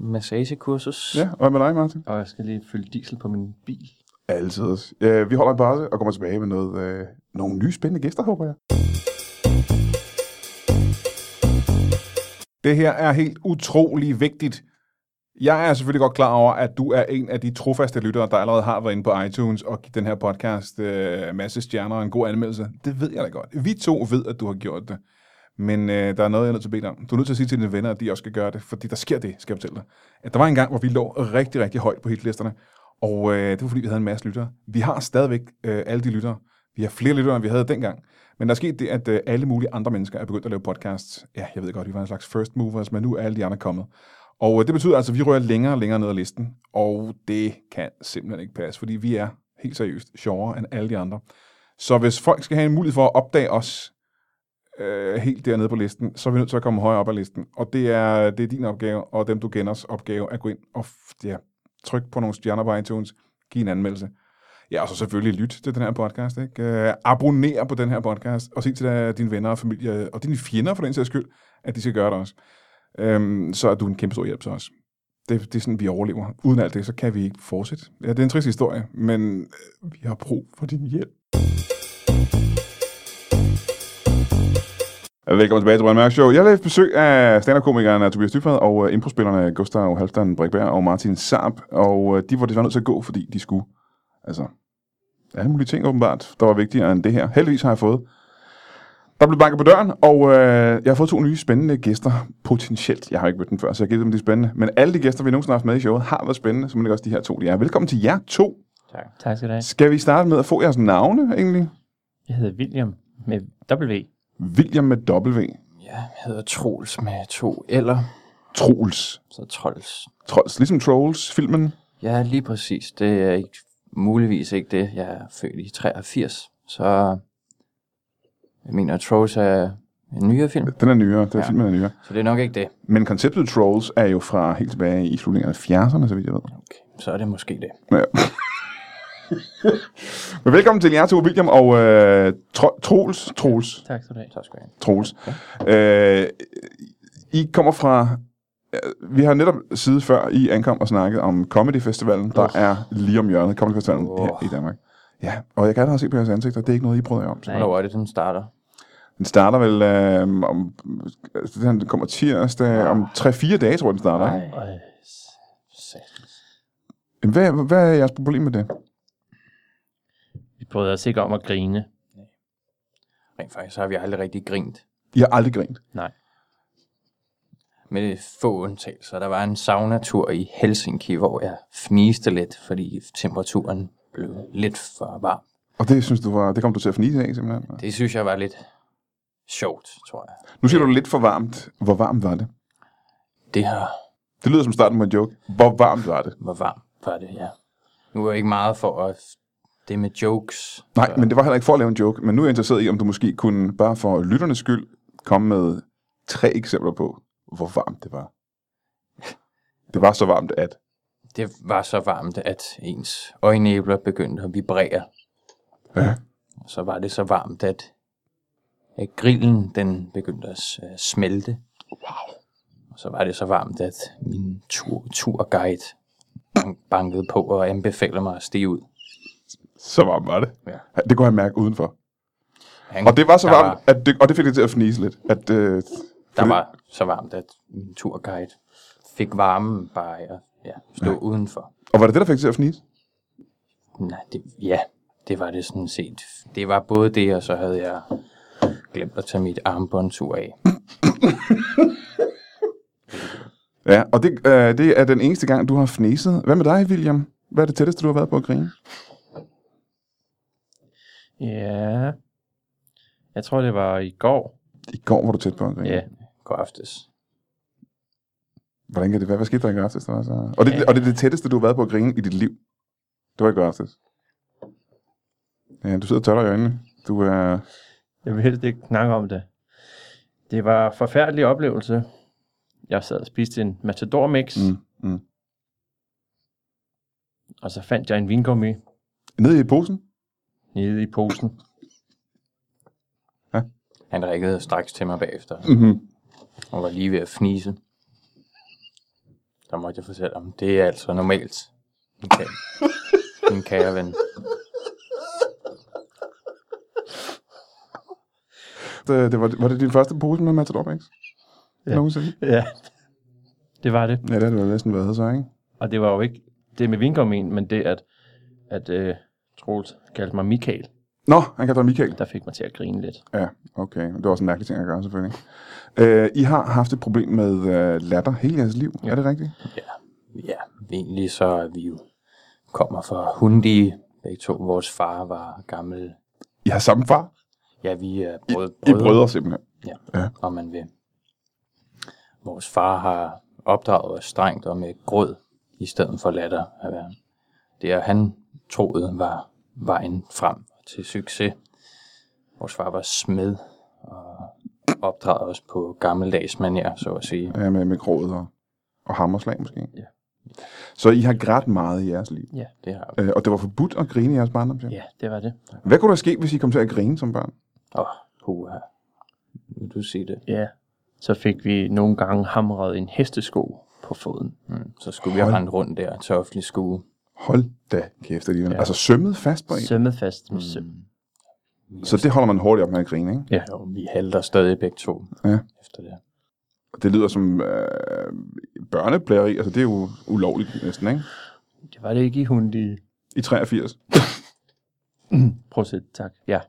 D: massagekursus.
A: Ja, og hvad med dig, Martin?
C: Og jeg skal lige fylde diesel på min bil.
A: Altid. Øh, vi holder en pause og kommer tilbage med noget, øh, nogle nye spændende gæster, håber jeg.
E: Det her er helt utrolig vigtigt. Jeg er selvfølgelig godt klar over, at du er en af de trofaste lyttere, der allerede har været inde på iTunes og givet den her podcast øh, masse stjerner og en god anmeldelse. Det ved jeg da godt. Vi to ved, at du har gjort det. Men øh, der er noget, jeg er nødt til at bede dig om. Du er nødt til at sige til dine venner, at de også skal gøre det, fordi der sker det, skal jeg fortælle dig. At der var en gang, hvor vi lå rigtig, rigtig højt på hitlisterne, og øh, det var fordi, vi havde en masse lyttere. Vi har stadigvæk øh, alle de lyttere. Vi har flere lyttere, end vi havde dengang. Men der er sket det, at øh, alle mulige andre mennesker er begyndt at lave podcasts. Ja, jeg ved godt, vi var en slags first movers, men nu er alle de andre kommet. Og øh, det betyder altså, at vi rører længere og længere ned ad listen, og det kan simpelthen ikke passe, fordi vi er helt seriøst sjovere end alle de andre. Så hvis folk skal have en mulighed for at opdage os, øh, helt dernede på listen, så er vi nødt til at komme højere op ad listen. Og det er, det er din opgave, og dem du kenders opgave, at gå ind og f- ja, trykke på nogle stjerner på iTunes, give en anmeldelse. Ja, og så selvfølgelig lyt til den her podcast. Ikke? Øh, abonner på den her podcast, og sig til øh, dine venner og familie, og dine fjender for den sags skyld, at de skal gøre det også. Øhm, så er du en kæmpe stor hjælp til os. Det, det er sådan, vi overlever. Uden alt det, så kan vi ikke fortsætte. Ja, det er en trist historie, men øh, vi har brug for din hjælp.
A: Velkommen tilbage til Brian Mørk Show. Jeg har lavet besøg af stand-up-komikerne Tobias Dybvad og øh, improspillerne Gustav Halfdan Brikberg og Martin Saab. Og øh, de var desværre nødt til at gå, fordi de skulle... Altså, alle mulige ting åbenbart, der var vigtigere end det her. Heldigvis har jeg fået... Der blev banket på døren, og øh, jeg har fået to nye spændende gæster, potentielt. Jeg har ikke mødt dem før, så jeg gætter dem, de er spændende. Men alle de gæster, vi nogensinde har haft med i showet, har været spændende, som også de her to, de er. Velkommen til jer to.
C: Tak skal du have.
A: Skal vi starte med at få jeres navne, egentlig?
C: Jeg hedder William med W.
A: William med W.
D: Ja, jeg hedder Troels med to eller
A: Troels.
D: så Trolls.
A: Trolls, ligesom Trolls, filmen.
D: Ja, lige præcis. Det er ikke, muligvis ikke det. Jeg er født i 83, så jeg mener, at Trolls er en nyere film,
A: Den er nyere, den ja. filmen er nyere.
D: så det er nok ikke det.
A: Men konceptet Trolls er jo fra helt tilbage i slutningen af 70'erne, så vidt jeg ved.
D: Okay, så er det måske det.
A: <laughs> Men velkommen til jer to, William og øh, Tro- Troels. Troels.
C: Tak skal du have.
D: Tak skal jeg have.
A: Troels. Øh, I kommer fra... øh, Vi har netop siden før I ankom og snakket om Comedy Festivalen, der er lige om hjørnet, Comedy Festivalen oh. her i Danmark. Ja, og jeg kan allerede se på jeres ansigter, det er ikke noget, I bryder jer om.
C: Nej.
D: Hvornår er det, den starter?
A: Den starter vel øh, om... altså, Den kommer tirsdag, om 3-4 dage, tror jeg, den starter. ikke?
C: Øj,
A: Jamen, Hvad, hvad er jeres problem med det?
C: Vi prøvede os ikke om at grine.
D: Rent faktisk så har vi aldrig rigtig grint.
A: I har aldrig grint.
C: Nej.
D: Med få undtagelser. Der var en saunatur i Helsinki, hvor jeg fniste lidt, fordi temperaturen blev lidt for varm.
A: Og det synes du var, det kom du til at fnise af, simpelthen?
D: Det synes jeg var lidt sjovt, tror jeg.
A: Nu siger du lidt for varmt. Hvor varmt var det?
D: Det her
A: Det lyder som starten på en joke. Hvor varmt var det?
D: var varmt, var det, ja. Nu er jeg ikke meget for at... Det med jokes.
A: Nej, men det var heller ikke for at lave en joke. Men nu er jeg interesseret i, om du måske kunne, bare for lytternes skyld, komme med tre eksempler på, hvor varmt det
D: <laughs>
A: var. Det var så varmt, at...
D: Det var så varmt, at ens øjenæbler begyndte at vibrere.
A: Ja.
D: Og så var det så varmt, at, at grillen den begyndte at s- øh, smelte. Wow. Og så var det så varmt, at min tur, turguide ban- bankede på og anbefalede mig at stige ud.
A: Så varmt var det.
D: Ja.
A: Det kunne jeg mærke udenfor.
D: Han,
A: Og det var så
D: der
A: varmt, at det, og det fik det til at fnise lidt. At, øh,
D: Der var så varmt, at min turguide fik varmen bare af at ja, stå ja. udenfor.
A: og var det det, der fik det til at fnise?
D: Nej, det, ja, det var det sådan set. Det var både det, og så havde jeg glemt at tage mit armbåndsur af.
A: Ja, og det, øh, det er den eneste gang, du har fniset. Hvad med dig, William? Hvad er det tætteste, du har været på at grine?
C: Ja. Jeg tror, det var i går.
A: I går var du tæt på at grine.
C: Ja.
D: God aftes.
A: Hvordan kan det være? Hvad skete der i går aftes? Der var så... og, det, og det er det tætteste, du har været på at grine i dit liv. Det var i går aftes. Ja, du sidder og tørrer i øjnene. Du er...
C: Jeg vil helst ikke snakke om det. Det var en forfærdelig oplevelse. Jeg sad og spiste en matador mix,
A: Mm, mm.
C: og så fandt jeg en vingummi
A: Nede i posen?
C: nede i posen.
D: Han rækkede straks til mig bagefter,
A: Mm-hmm.
D: og var lige ved at fnise. Der måtte jeg fortælle ham, det er altså normalt. Min kære, min kære ven.
A: Det, det var, var det din første pose med Matador Mix? Ja.
C: Ja.
A: Nogensinde?
C: <laughs> Ja. Det var det.
A: Ja, det har det jo næsten været så, ikke?
C: Og det var jo ikke det med vingummien, men det, at, at øh, Troels kaldte mig Michael,
A: Nå, han kaldte dig Michael.
C: der fik mig til at grine lidt.
A: Ja, okay. Det var også en mærkelig ting at gøre, selvfølgelig. Øh, I har haft et problem med øh, latter hele jeres liv. Ja. Er det rigtigt?
D: Ja, egentlig så er vi jo kommer fra Hundi. Begge to, vores far var gammel.
A: I har samme far?
D: Ja, vi er brød,
A: I er brødre, simpelthen.
D: om man vil. Vores far har opdraget os strengt og med grød i stedet for latter at være. Det er han troede var vejen frem til succes. Vores far var smed og opdragede os på gammeldags manier, så at sige.
A: Ja, med, med kroget og, og hammerslag måske.
D: Ja.
A: Så I har grædt meget i jeres liv.
D: Det har
A: Øh, og det var forbudt at grine i jeres barndom, ja.
C: Ja, det var det.
A: Hvad kunne der ske, hvis I kom til at grine som børn?
D: Åh, puha. Vil du sige det?
C: Ja. Så fik vi nogle gange hamret en hestesko på foden.
D: Mm. Så skulle vi have rendt rundt der til offentlig skue.
A: Hold da kæft alligevel. Ja. Altså sømmet fast på en. Søm.
C: Sømmet fast med søm.
A: Så det holder man hurtigt op med at grine, ikke?
D: Ja, og vi halter stadig begge to
A: Ja.
D: efter det.
A: Og Det lyder som øh, børneplageri. Altså det er jo ulovligt næsten, ikke?
C: Det var det ikke i hundi.
A: I 83.
C: Prøv at se, tak. Ja.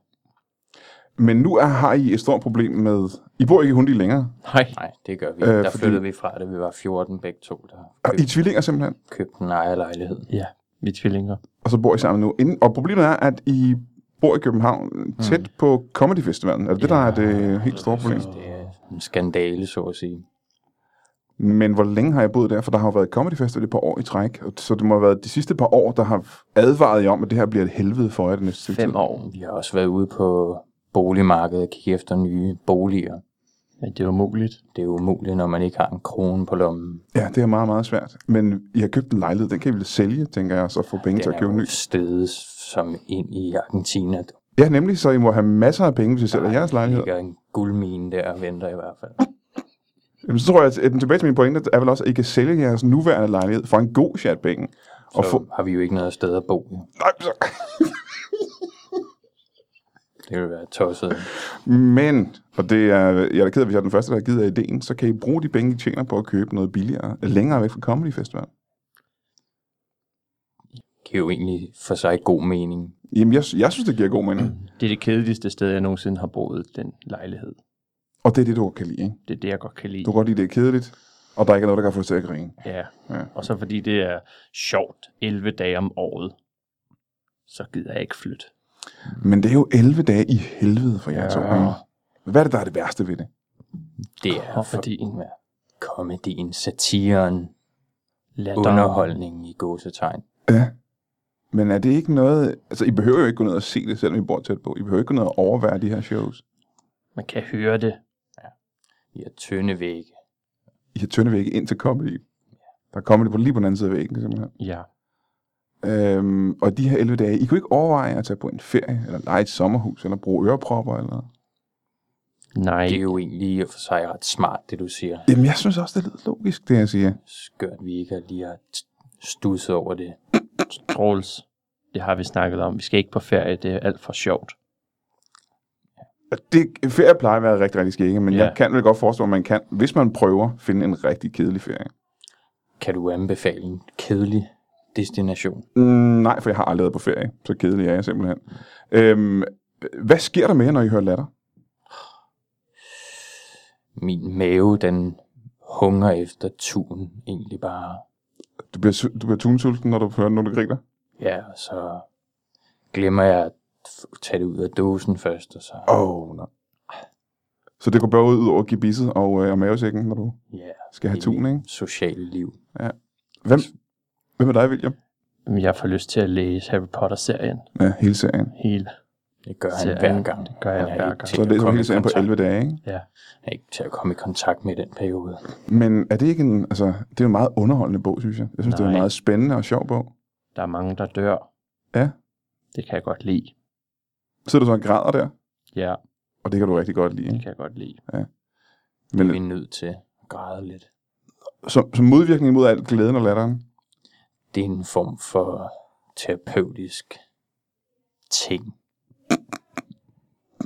A: Men nu er, har I et stort problem med... I bor ikke i Hundi længere.
C: Nej.
D: Nej, det gør vi.
A: Øh,
D: Øh, der
A: fordi-
D: flyttede vi fra det. Vi var 14 begge to, der
A: Og I er tvillinger simpelthen.
D: købte en ejerlejlighed.
C: Ja, vi er tvillinger.
A: og så bor I sammen nu. Inden, og problemet er, at I bor i København tæt mm. på Comedy Festivalen. Er det det, der er det helt store problem?
D: Det er en skandale, så at sige.
A: Men hvor længe har jeg boet der? For der har jo været Comedy Festival et par år i træk. og Så det må have været de sidste par år, der har advaret jer om, at det her bliver et helvede for jer det næste stykke tid.
D: Fem år. Vi har også været ude på boligmarkedet og kigge efter nye boliger.
C: Men det er umuligt.
D: Det er umuligt, når man ikke har en krone på lommen.
A: Ja, det er meget, meget svært. Men I har købt en lejlighed. Den kan I vel sælge, tænker jeg, og så få penge til
D: Den
A: at købe en
D: er
A: ny.
D: jo stedet som ind i Argentina.
A: Ja, nemlig, så I må have masser af penge, hvis I sælger jeres
D: Der
A: lejlighed.
D: ligger en guldmine der og venter i hvert fald.
A: Jamen, så tror jeg, at den tilbage til min pointe er vel også, at I kan sælge jeres nuværende lejlighed for en god chat penge. Og
D: Så
A: få...
D: har vi jo ikke noget sted at bo. jo.
A: Nej, så...
D: Det vil være tosset.
A: Men, og det er, jeg er da ked af, hvis jeg er den første, der har givet jer ideen, så kan I bruge de penge, I tjener på at købe noget billigere, længere væk fra Comedy Festival.
D: Giver jo egentlig for sig god mening.
A: Jamen, jeg, jeg synes, det giver god mening.
C: Det er det kedeligste sted, jeg nogensinde har boet, den lejlighed.
A: Og det er det, du godt kan lide, ikke?
C: Det er det, jeg godt kan lide.
A: Du kan godt lide, det er kedeligt, og der er ikke noget, der kan få dig til at grine.
C: Ja.
A: Ja.
C: ja. Og så fordi det er sjovt 11 dage om året, så gider jeg ikke flytte.
A: Men det er jo 11 dage i helvede for jer ja. to, ikke? Hvad er det, der er det værste ved det?
D: Det er
C: Komedien.
D: for- komedien, satiren,
C: Latter.
D: underholdningen i gåsetegn.
A: Ja. Men er det ikke noget... Altså, I behøver jo ikke gå ned og se det, selvom I bor tæt på. I behøver ikke gå ned og overvære de her shows.
C: Man kan høre det.
D: Vi har tynde vægge.
A: I har tynde vægge ind til comedy. Der er comedy på lige på den anden side af væggen, simpelthen.
C: Ja.
A: Øhm, og de her 11 dage, I kunne ikke overveje at tage på en ferie, eller lege et sommerhus, eller bruge ørepropper, eller...
C: Nej.
D: Det er jo egentlig i og for sig ret smart, det du siger.
A: Jamen, jeg synes også, det lyder logisk, det jeg siger.
D: Skørt, vi ikke har lige har t- stusset over det.
C: Trolls. Det har vi snakket om. Vi skal ikke på ferie. Det er alt for sjovt.
A: Og Det, ferie plejer at være rigtig, rigtig skægge, men
C: Ja.
A: jeg kan vel godt forestille mig, at man kan, hvis man prøver, finde en rigtig kedelig ferie.
D: Kan du anbefale en kedelig destination?
A: Mm, nej, for jeg har aldrig været på ferie, så kedelig er jeg simpelthen. Øhm, hvad sker der med jer, når I hører latter?
D: Min mave, den hunger efter tun egentlig bare.
A: Du bliver, su- du bliver tunsulten, når du hører nogen, der griner.
D: Ja, og så glemmer jeg at f- tage det ud af dåsen først, og så...
A: Åh, oh, nej. Så det går bare ud over gibisset og, øh, og mavesækken, når du
D: Ja,
A: skal have
D: i
A: tun,
D: mit
A: ikke?
D: Sociale liv.
A: Hvem, hvem er dig, William?
C: Men Jeg får lyst til at læse Harry Potter-serien.
A: Ja, hele serien.
C: Hele.
D: Det gør han
C: Serien,
D: hver gang.
C: det gør han hver
D: ikke
C: gang.
D: til
A: Så
D: at
A: læser man
D: komme i
A: hele serien på
D: kontakt-
A: 11 dage, ikke?
C: Ja.
D: Han er ikke til at komme i kontakt med i den periode.
A: Men er det ikke en, altså, det er jo en meget underholdende bog, synes jeg. Jeg synes, Nej. det er en
C: Nej.
A: meget spændende og sjov bog.
C: Der er mange, der dør.
A: Ja.
C: Det kan jeg godt lide.
A: Sidder du så og græder der,
C: Ja,
A: og det kan du rigtig godt lide.
C: det
A: Ikke?
C: kan jeg godt lide.
D: Men... Vi er
A: Men
D: nødt til at græde lidt.
A: som, som modvirkning mod alt glæden og latteren.
D: Det er en form for terapeutisk ting.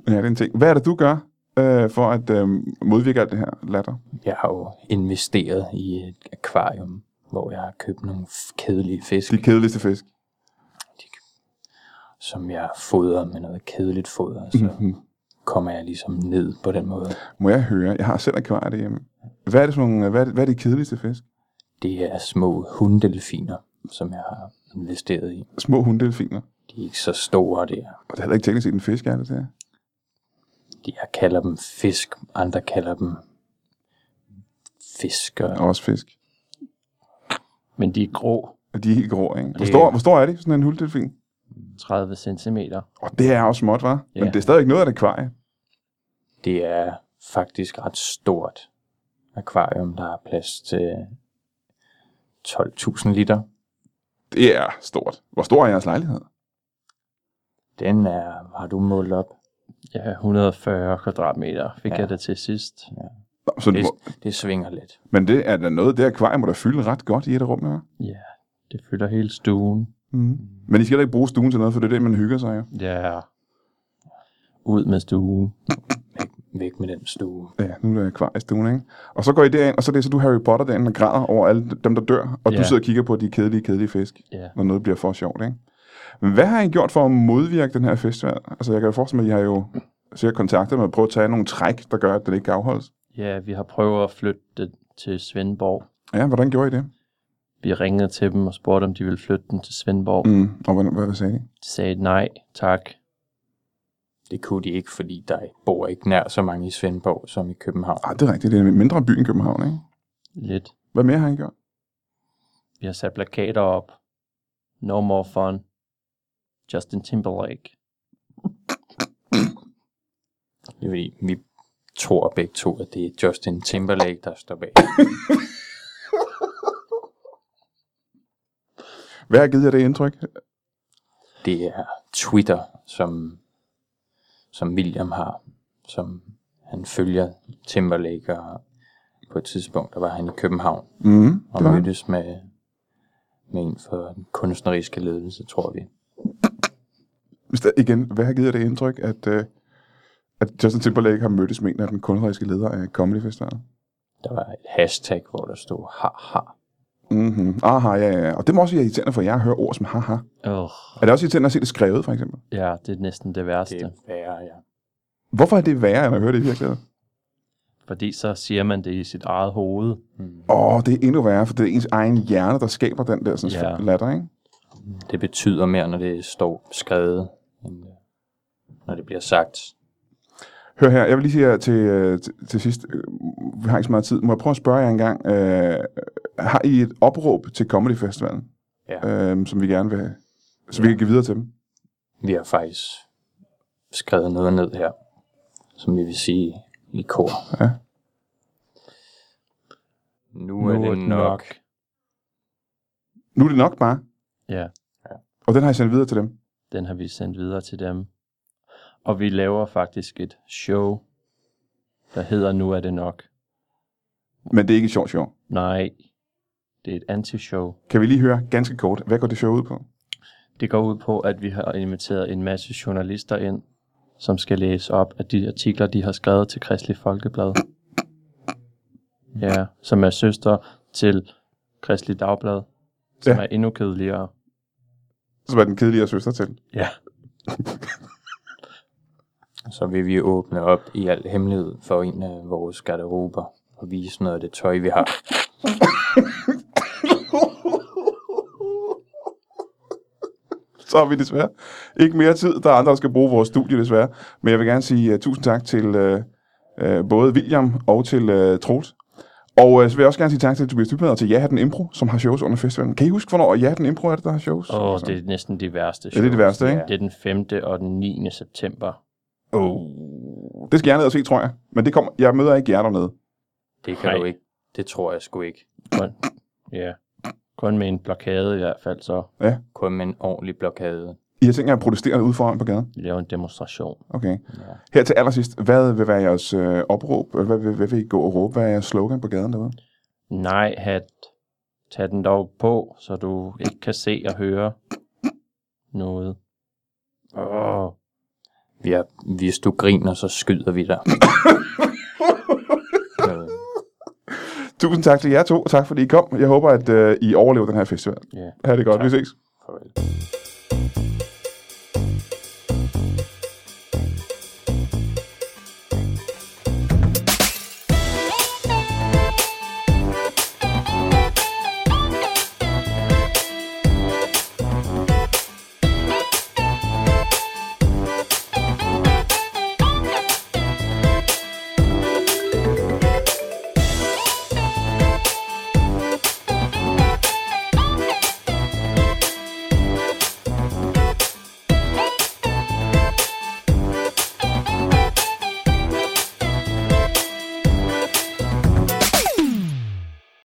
A: Ja, det er en ting. Hvad er det, du gør øh, for at øh, modvirke alt det her latter?
D: Jeg har jo investeret i et akvarium, hvor jeg har købt nogle f- kedelige fisk,
A: De kedeligste fisk.
D: som jeg fodrer med noget kedeligt foder. Så kommer jeg ligesom ned på den måde.
A: Må jeg høre? Jeg har selv akvariet derhjemme. Hvad er det for nogle, hvad, er det- hvad er de kedeligste fisk?
D: Det er små hunddelfiner, som jeg har investeret i.
A: Små hunddelfiner.
D: De er ikke så store der.
A: Og det er heller ikke teknisk set en fisk, er det der?
D: De, jeg kalder dem fisk, andre kalder dem fisker.
A: Også fisk.
C: Men de er grå.
A: Og de er helt grå, ikke? Hvor
D: Det-
A: stor, hvor stor er det, sådan en hunddelfin?
C: 30 centimeter.
A: Og det er også småt, var.
C: Ja.
A: Men det er stadigvæk noget af et akvarie.
D: Det er faktisk ret stort akvarium, der er plads til 12.000 liter.
A: Det er stort. Hvor stor er jeres lejlighed?
D: Den er, har du målt op?
C: Ja, 140 kvadratmeter fik
D: Ja.
C: ja. jeg det til sidst.
A: Nå, så det
D: Det,
A: må,
D: det svinger lidt.
A: men det er da noget, det akvarium må da fylde ret godt i et af rummene, hva'?
C: Ja, det fylder hele stuen.
A: Mm. Men I skal da ikke bruge stuen til noget, for det er det, man hygger sig jo.
C: Ja. Ud med stuen.
D: Væk med den stue.
A: Ja, nu er der akvariestuen, ikke? Og så går I derind, og så læser du Harry Potter derinde og græder over alle dem, der dør. Og ja.
C: Ja.
A: du sidder og kigger på de kedelige, kedelige fisk,
C: Ja.
A: når noget bliver for sjovt, ikke? Men Hvad har I gjort for at modvirke den her festival? Altså, jeg kan jo forestille mig, at I har jo Så jeg kontakter dem og prøver at tage nogle træk, der gør, at den ikke kan afholdes.
C: Ja, vi har prøvet at flytte det til Svendborg.
A: Ja, hvordan gjorde I det?
C: Vi ringede til dem og spurgte, om de ville flytte den til Svendborg. Mm.
A: Mm. Og hvad, hvad sagde I?
C: De sagde nej, tak.
D: Det kunne de ikke, fordi der bor ikke nær så mange i Svendborg som i København.
A: Ah, det er rigtigt. Det er en mindre by end København, ikke?
C: Lidt.
A: Hvad mere har I gjort?
C: Vi har sat plakater op. No more fun. Justin Timberlake.
D: Det er fordi, vi tror begge to, at det er Justin Timberlake, der står bag.
A: Hvad har givet jer det indtryk?
D: Det er Twitter, som, som William har, som han følger Timberlake, og på et tidspunkt, der var han i København
A: Mm.
D: og
A: Det var.
D: mødtes med, med en for den kunstneriske ledelse, tror vi.
A: Hvis der- Igen, hvad har givet jer det indtryk, at, øh, at Justin Timberlake har mødtes med en af den kunstneriske leder af Comedy Festivalen?
D: Der var et hashtag, hvor der stod haha.
A: Mm-hmm. Aha, ja, ja, ja. Og det må også være irriterende for jer at høre ord som haha.
C: Ugh.
A: Er det også irriterende at se det skrevet, for eksempel?
C: Ja, det er næsten det værste.
D: Det er værre, ja.
A: Hvorfor er det værre, end at høre det i virkeligheden?
C: Fordi så siger man det i sit eget hoved.
A: Åh, oh, det er endnu værre, for det er ens egen hjerne, der skaber den der sådan,
C: Ja.
A: yeah. latter, ikke?
D: Det betyder mere, når det står skrevet, end øh, når det bliver sagt.
A: Hør her, jeg vil lige sige her til, øh, til, til sidst, øh, vi har ikke så meget tid, må jeg prøve at spørge jer en gang, øh, har I et opråb til Comedy Festivalen,
D: Ja.
A: øh, som vi gerne vil have, så vi kan give videre til dem?
D: Vi har faktisk skrevet noget ned her, som vi vil sige i kor.
A: Ja.
D: Nu er det nok.
A: Nu er det nok bare,
C: Ja,
A: og den har jeg sendt videre til dem.
C: den har vi sendt videre til dem. Og vi laver faktisk et show, der hedder Nu er det nok.
A: Men det er ikke et sjovt show.
C: Nej, det er et anti-show.
A: Kan vi lige høre ganske kort, hvad går det show ud på?
C: Det går ud på, at vi har inviteret en masse journalister ind, som skal læse op af de artikler, de har skrevet til Kristelig Folkeblad. Ja, som er søster til Kristelig Dagblad, som
A: Ja.
C: ja. er endnu kedeligere.
A: Så var den kedelige søster til.
C: Ja.
D: Så vil vi åbne op i al hemmelighed for en af vores garderober og vise noget af det tøj, vi har.
A: Så har vi desværre ikke mere tid. Der er andre, der skal bruge vores studie desværre. Men jeg vil gerne sige uh, tusind tak til uh, uh, både William og til uh, Troels. Og uh, så vil jeg også gerne sige tak til Tobias Dybmed og til Ja den Impro, som har shows under festivalen. Kan I huske, hvornår Ja den Impro er det, der har shows?
C: Åh, oh, det er næsten det værste
A: Ja, det er det værste, ikke?
C: Det er den 5. og den 9. september.
A: Oh. Det skal jeg ned og se, tror jeg. Men det kommer, jeg møder ikke jer dernede.
D: Det kan
C: Hej.
D: du ikke. Det tror jeg sgu ikke.
C: Kun, ja. Kun med en blokade i hvert fald, så
D: Kun med en ordentlig blokade.
A: I har tænkt jer at protestere ude foran på gaden?
C: vi laver en demonstration.
A: Okay. Her til allersidst, hvad vil være jeres øh, opråb? Eller Hvad vil, hvad vil I gå og råbe? Hvad er jeres slogan på gaden derude?
C: Nej, hat. Tag den dog på, så du ikke kan se og høre noget. Åh, oh,
D: Vi er, hvis du griner, så skyder vi dig. Øh,
A: Tusind tak til jer to, og tak fordi I kom. Jeg håber, at øh, I overlever den her festival.
C: ja.
A: Ha' det godt. Vi ses.
D: farvel.